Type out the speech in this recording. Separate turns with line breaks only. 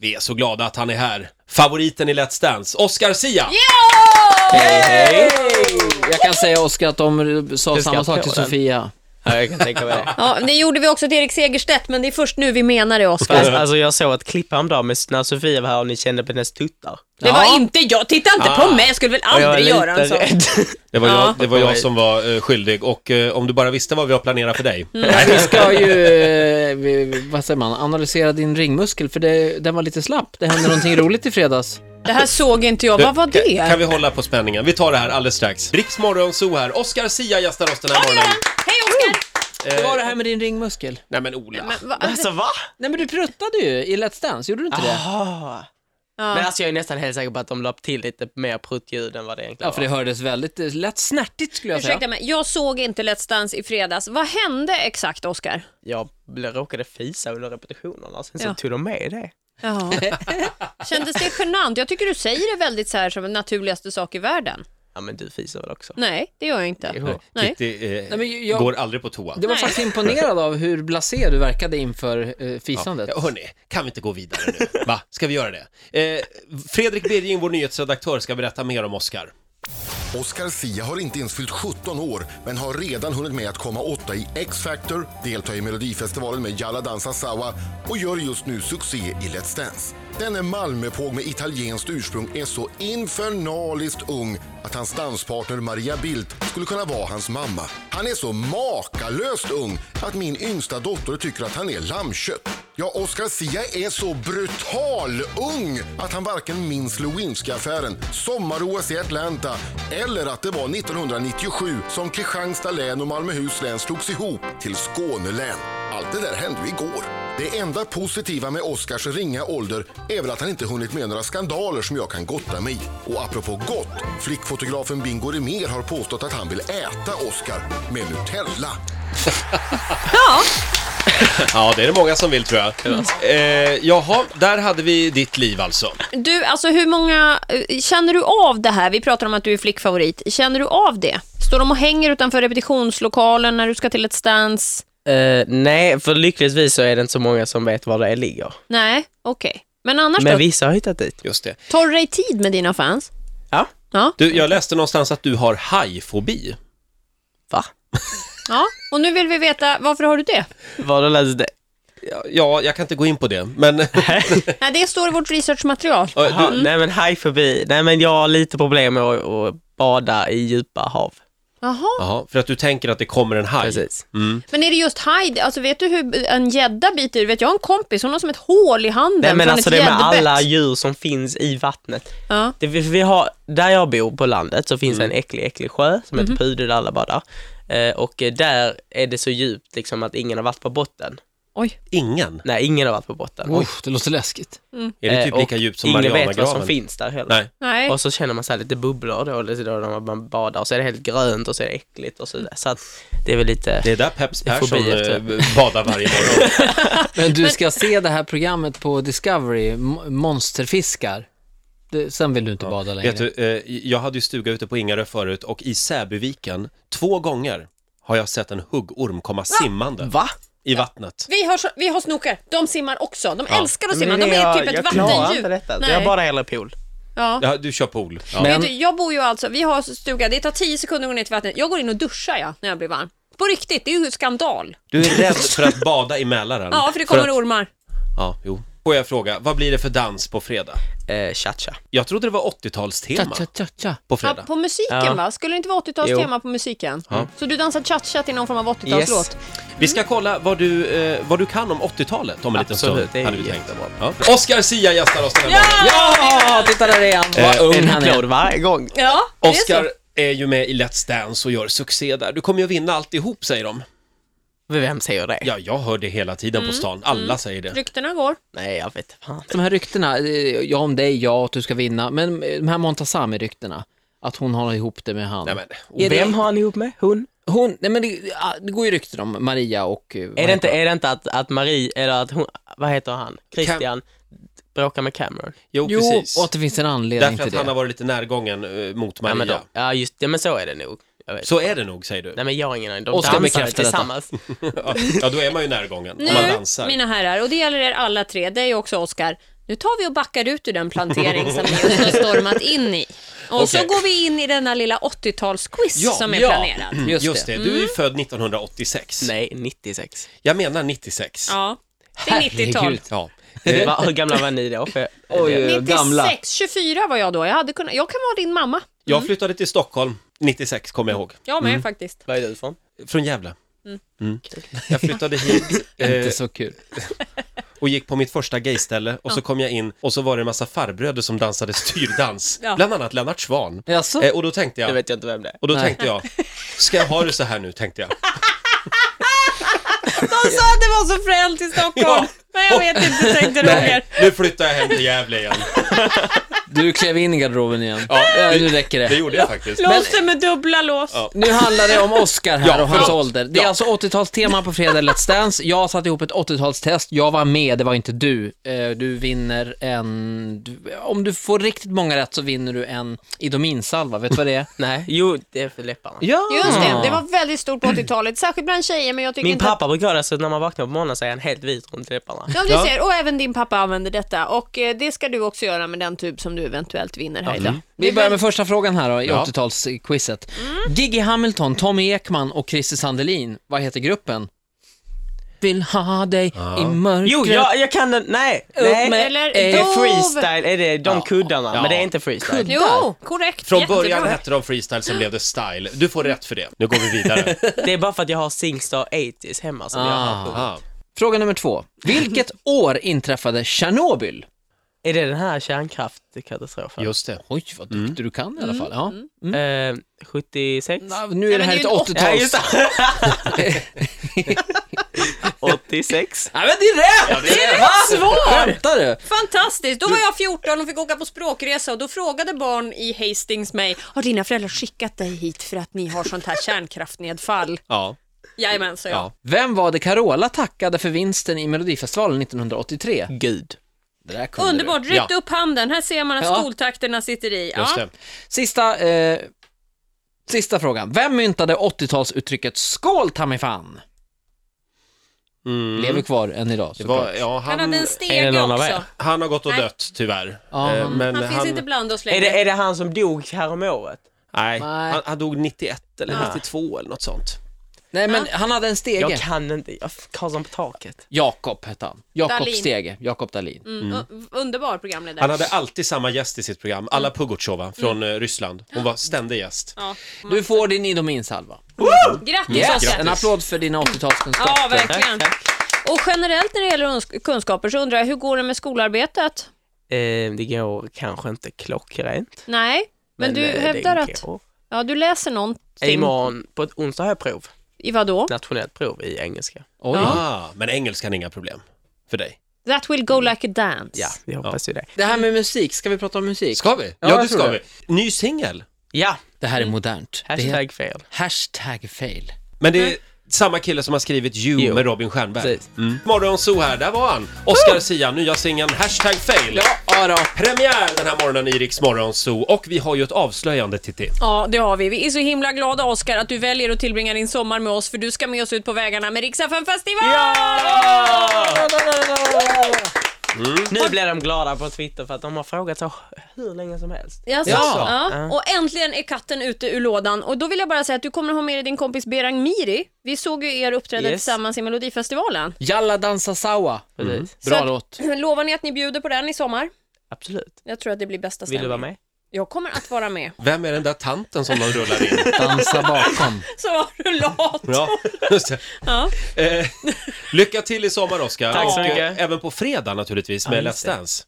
Vi är så glada att han är här. Favoriten i Let's Dance, Oscar Sia!
Hej, hej! Jag kan säga Oskar att de sa samma
Du skrattar
sak till
åt den.
Sofia.
Ja, jag kan tänka mig det.
Ja, det gjorde vi också till Erik Segerstedt, men det är först nu vi menar det, Oskar.
Fast, alltså jag såg ett klipp häromdagen med- när Sofia var här och ni kände på hennes tuttar.
Det var inte jag, titta inte på mig, jag skulle väl
Och jag var
aldrig göra en sån.
Det var,
Ja.
jag, det var jag som var eh, skyldig och eh, om du bara visste vad vi har planerat för dig.
Vi ska ju, eh, vi- vad säger man, analysera din ringmuskel för det, den var lite slapp. Det hände någonting roligt i fredags.
Det här såg inte jag,
Du,
vad var
ka-
det?
Kan vi hålla på spänningen? Vi tar det här alldeles strax. Riks Morgonzoo här. Oscar Sia gästar oss den här morgonen.
Hej Oskar!
Det var det här med din ringmuskel.
Nej men Ola.
Men, va?
Alltså va?
Nej men du pruttade ju i Let's Dance, gjorde du inte det?
Jaha. Men alltså jag är nästan helt säker på att de la till lite mer pruttljud än vad det egentligen
Ja, för det hördes väldigt eh, lätt snärtigt skulle jag säga.
Ursäkta mig, jag såg inte Let's Dance i fredags. Vad hände exakt, Oskar?
var. Jag råkade fisa under repetitionerna, sen så
Ja.
tog de med det.
Ja. Kändes det genant? Jag tycker du säger det väldigt så här som en naturligaste sak i världen.
Ja men du fiser väl också?
Nej, det gör jag inte.
Jo.
Nej.
Kitty eh,
Nej, men jag-
går aldrig på toa.
Det var
Nej.
faktiskt imponerad av hur blasé du verkade inför eh, fisandet.
Ja, hörni, kan vi inte gå vidare nu? Va? Ska vi göra det? Eh, Fredrik Birging, vår nyhetsredaktör, ska berätta mer om Oscar.
Oscar Sia har inte ens fyllt 17 år, men har redan hunnit med att komma åtta i X-Factor, delta i Melodifestivalen med Jalla Dansa Sawa och gör just nu succé i Let's Dance. Denne Malmöpåg med italienskt ursprung är så infernaliskt ung att hans danspartner Maria Bildt skulle kunna vara hans mamma. Han är så makalöst ung att min yngsta dotter tycker att han är lammkött. Ja, Oscar Sia är så brutal ung att han varken minns Lewinsky-affären, sommar-OS i Atlanta eller att det var 1997 som Kristianstad län och Malmöhus län slogs ihop till Skånelän. Allt det där hände ju igår. Det enda positiva med Oscars ringa ålder är väl att han inte hunnit med några skandaler som jag kan gotta mig i. Och apropå gott, flickfotografen Bingo Rimér har påstått att han vill äta Oscar med Nutella.
Ja, det är det många som vill tror jag. Eh, jaha, där hade vi ditt liv alltså.
Du, alltså hur många, eh, känner du av det här? Vi pratar om att du är flickfavorit. Känner du av det? Står de och hänger utanför repetitionslokalen när du ska till Let's Dance?
Eh, nej, för lyckligtvis så är det inte så många som vet var det är ligger.
Nej, okej. Men annars
Men
då?
vissa har hittat dit.
Just det.
Tar du dig tid med dina fans?
Ja.
Ja.
Du, jag läste någonstans att du har hajfobi.
Va?
ja. Och nu vill vi veta, varför har du det?
Var du läst det?
Ja, Ja, jag kan inte gå in på det, men
Nej, det står i vårt researchmaterial.
Jaha, Nej men hajfobi, nej men jag har lite problem med att, att bada i djupa hav.
Jaha.
Jaha, för att du tänker att det kommer en haj.
Precis.
Men är det just haj? Alltså vet du hur en gädda biter ur? Vet jag har en kompis, hon har som ett hål i handen
Nej men
från
alltså
ett
det är med
gäddbett.
alla djur som finns i vattnet.
Ja.
Det, vi, vi har, där jag bor på landet så finns en äcklig, äcklig sjö som heter Pude där alla badar. Eh, och eh, där är det så djupt liksom att ingen har varit på botten.
Oj.
Ingen.
Nej, ingen har varit på botten.
Oj, det låter läskigt.
Är det
Eh,
typ
och
lika djupt som
Ingen vet vad som
Marianagraven?
finns där heller.
Nej.
Nej.
Och så känner man så här lite bubblor då, eller så då när man badar och så är det helt grönt och så är det äckligt och så där. Så att det är väl lite...
Det är där Peps
Det är
Persson
fobi
eh,
efter.
badar varje morgon.
Men du ska se det här programmet på Discovery, Mo- Monsterfiskar. Det, sen vill du inte bada längre.
Vet du, eh, jag hade ju stuga ute på Ingarö förut och i Säbyviken, två gånger har jag sett en huggorm komma simmande
Va?
i vattnet.
Vi har, så- vi har snokar, de simmar också. De älskar att
Men det
simma, de
det
är
jag-
typ ett
Jag klarar inte
vattendjur.
detta.
Nej.
Jag badar hellre i pool.
Ja.
Ja, du kör pool. Ja.
Men-
Vet du, jag bor ju alltså, vi har stuga, det tar 10 sekunder att gå ner till vattnet. Jag går in och duschar jag, när jag blir varm. På riktigt, det är ju
Mm.
skandal.
Du är rädd för att bada i Mälaren.
Ja, för det kommer
att,
ormar.
Ja, jo. Får jag fråga, vad blir det för dans på fredag?
Eh, cha-cha.
Jag trodde det var
Tja,
80-talstema
tja, tja, tja.
på
Ja,
fredag.
på musiken
Ja.
va? Skulle det inte vara 80-talstema på musiken? Så du dansar cha-cha till någon form av 80-talslåt?
Vi ska kolla vad du, eh, vad du kan om 80-talet om en liten stund.
Absolut, det är
hade vi tänkt.
jättebra.
Ja. Oscar Sia gästar oss den här morgonen.
Ja, titta där är han. Vad
Eh, En
ung han
applåd
är.
varje gång.
Ja, det är så.
Oscar är ju med i Let's Dance och gör succé där. Du kommer ju vinna alltihop, säger de.
Vem säger det?
Ja, jag hör det hela tiden på stan. Alla säger det.
Ryktena går.
Nej, jag vet fan.
De här ryktena, eh, ja om dig, ja att du ska vinna, men eh, de här Montazami-ryktena, att hon har ihop det med han.
Nej, men,
Är det-
Vem har han ihop med? Hon?
Hon, nej men det, ah, det går ju rykten om Maria och... eh, vad
Är det
heter
inte,
han?
är det inte att, att Marie, eller att hon, vad heter han? Christian bråkar med Cameron?
jo,
Jo,
precis.
och att det finns en anledning
Därför
till
att
det.
han har varit lite närgången eh, mot
Ja,
Maria.
men, de, ja just det, men så är det nog. Jag vet.
Så är det nog, säger du.
Nej men jag har ingen aning, de
Oskar
dansar
bekräftar detta.
tillsammans.
Ja, då är man ju närgången, om man
Nu,
dansar.
mina herrar, och det gäller er alla tre, dig också Oscar. Nu tar vi och backar ut ur den plantering som vi just har stormat in i. Och så
Okej.
går vi in i denna lilla 80-talsquiz
Ja,
som är
ja. mm,
planerad.
Just det.
Just det, du är ju född 1986.
Nej, 96.
Jag menar 96.
Ja, det är 90-tal.
Ja.
Va, hur gamla var ni då? För jag,
Eh. Oj,
Eh,
oj,
96,
gamla.
24 var jag då. Jag, hade kunnat, jag kan vara din mamma.
Jag flyttade till Stockholm 96, kommer jag ihåg.
Jag med faktiskt.
var är du ifrån?
Från Gävle. Mm. Jag flyttade hit eh,
Inte så kul.
och gick på mitt första gayställe och så kom jag in och så var det en massa farbröder som dansade styrdans.
Ja.
Bland annat Lennart Swahn.
Jaså?
Eh, och då tänkte
Det
jag,
vet jag inte vem det är.
och då
Nej.
tänkte jag, ska jag ha det så här nu, tänkte jag.
De sa att det var så fränt i Stockholm.
Ja.
Men jag vet inte, tänkte Roger.
Nej, nu flyttar jag hem till Gävle igen.
Du klev in i garderoben igen.
Ja,
Ja, nu räcker
Det
det.
gjorde jag faktiskt.
Låste med dubbla lås.
Ja.
Nu handlar det om Oscar här
Ja,
och hans
förlåt.
ålder. Det är
Ja.
alltså 80-talstema på fredag Let's Dance. Jag satte ihop ett 80-talstest. Jag var med, det var inte du. Eh, Du vinner en... du- Om du får riktigt många rätt så vinner du en Idominsalva. Vet du vad det är?
Nej, jo, det är för läpparna.
Ja!
Just
Mm.
det, det var väldigt stort på 80-talet. Särskilt bland tjejer, men jag tycker
Min
inte
pappa brukar göra så när man vaknar på morgonen så är han helt vit runt läpparna.
Ja, du ser. Och även din pappa använder detta. Och eh, det ska du också göra med den tub som du eventuellt vinner här idag.
Vi börjar med första frågan här då, i
Ja.
80-talsquizet.
Mm.
Gigi Hamilton, Tommy Ekman och Christer Sandelin, vad heter gruppen? Vill ha dig i mörkret.
Jo, jag, jag kan den, nej,
Upp
nej.
med-
Eller
Eh,
Det är
dov.
freestyle, är det de kuddarna? Men det är inte freestyle.
Kudd-
Jo, korrekt.
Från
Jättebra.
början hette de freestyle, sen blev det style. Du får rätt för det. Nu går vi vidare.
Det är bara för att jag har Singstar 80s hemma som jag
Ah.
har. på.
Ah.
Fråga nummer två. Vilket år inträffade Tjernobyl?
Är det den här kärnkraftkatastrofen?
Just det. Mm.
Oj, vad duktig du kan i alla fall. Ja.
Eh, 76?
Ja, Nu är det
men det är
här ett
ju en
80-tals...
Ja, just det. 86?
Nej, men det är rätt!
Det är rätt svar!
Skämtar du?
Fantastiskt! Då var jag 14 och fick åka på språkresa och då frågade barn i Hastings mig, har dina föräldrar skickat dig hit för att ni har sånt här kärnkraftnedfall?
Ja.
Jajamän, sa jag.
Ja.
Vem var det Carola tackade för vinsten i Melodifestivalen 1983?
Gud.
Det där kunde du.
Underbart, rätt
Ja.
upp handen. Här ser man att
Ja.
skoltakterna sitter i. Ja.
Just det.
Sista, eh, sista frågan. Vem myntade 80-talsuttrycket “Skål Tammy fan”?
Mm.
Lever kvar än idag
Det
såklart.
var, ja,
Han hade en
han,
är det
stege
någon av
också.
er?
han har gått och
Nej.
dött tyvärr.
Ja,
Eh,
han-
men
Han finns inte bland oss längre.
Är det, är det han som dog häromåret?
Nej,
Nej. Ah.
Han, han dog 91 eller
Ja.
92 eller något sånt.
Nej men han hade en stege.
Jag kan inte, jag Karlsson på taket.
Jakob hette han. Jakob
Dahlin.
Stege, Jakob Dahlin.
Mm, u- Underbar programledare.
Han hade alltid samma gäst i sitt program, Alla Pugotjova från
Mm.
eh, Ryssland. Hon var ständig gäst.
Ja.
Du får din Idominsalva.
Grattis
Yes!
Oskar!
En applåd för dina 80-talskunskaper.
Ja, verkligen. Och generellt när det gäller uns- kunskaper så undrar jag, hur går det med skolarbetet?
Eh, det går kanske inte klockrent.
Nej, men, du
eh, det
hävdar att
går.
ja, du läser någonting.
Imorgon, på ett onsdag har jag prov.
I vadå?
Nationellt prov i engelska.
Oj.
Ah, men engelskan är inga problem för dig.
That will go like a dance.
Ja, vi hoppas ju det.
Det här med musik, ska vi prata om musik?
Ska vi? Ja,
jag
det
tror
ska vi.
det.
Ny singel.
Ja,
Det här är modernt. Det är
hashtag fel.
hashtag fail.
Men det
Mm.
är samma kille som har skrivit You
Jo.
med Robin Stjernberg.
Precis.
Mm. Morgonzoo här, där var han. Oscar Sia, nya singeln Hashtag fail.
Ja, då.
Premiär den här morgonen i Riks Morgonzoo och vi har ju ett avslöjande Titti.
Ja, det har vi. Vi är så himla glada Oskar att du väljer att tillbringa din sommar med oss för du ska med oss ut på vägarna med Rix FM festival!
Nu blir de glada på Twitter för att de har frågat så hur länge som helst.
Jaså?
Ja.
Ja. Och äntligen är katten ute ur lådan. Och då vill jag bara säga att du kommer att ha med dig din kompis Berang Miri. Vi såg ju er uppträda
Yes.
tillsammans i Melodifestivalen.
Jalla dansa sawa. Mm.
Precis.
Bra
Så att-
låt.
Lovar ni att ni bjuder på den i sommar?
Absolut.
Jag tror att det blir bästa
Vill du
stämningen.
vara med?
Jag kommer att vara med.
Vem är den där tanten som de rullar in?
Dansa bakom.
Så var du lat.
Ja, just det.
Ja.
Eh, lycka till i sommar Oskar.
Tack
Och,
så
eh,
mycket.
Även på fredag naturligtvis med
Ja, just
Let's Dance.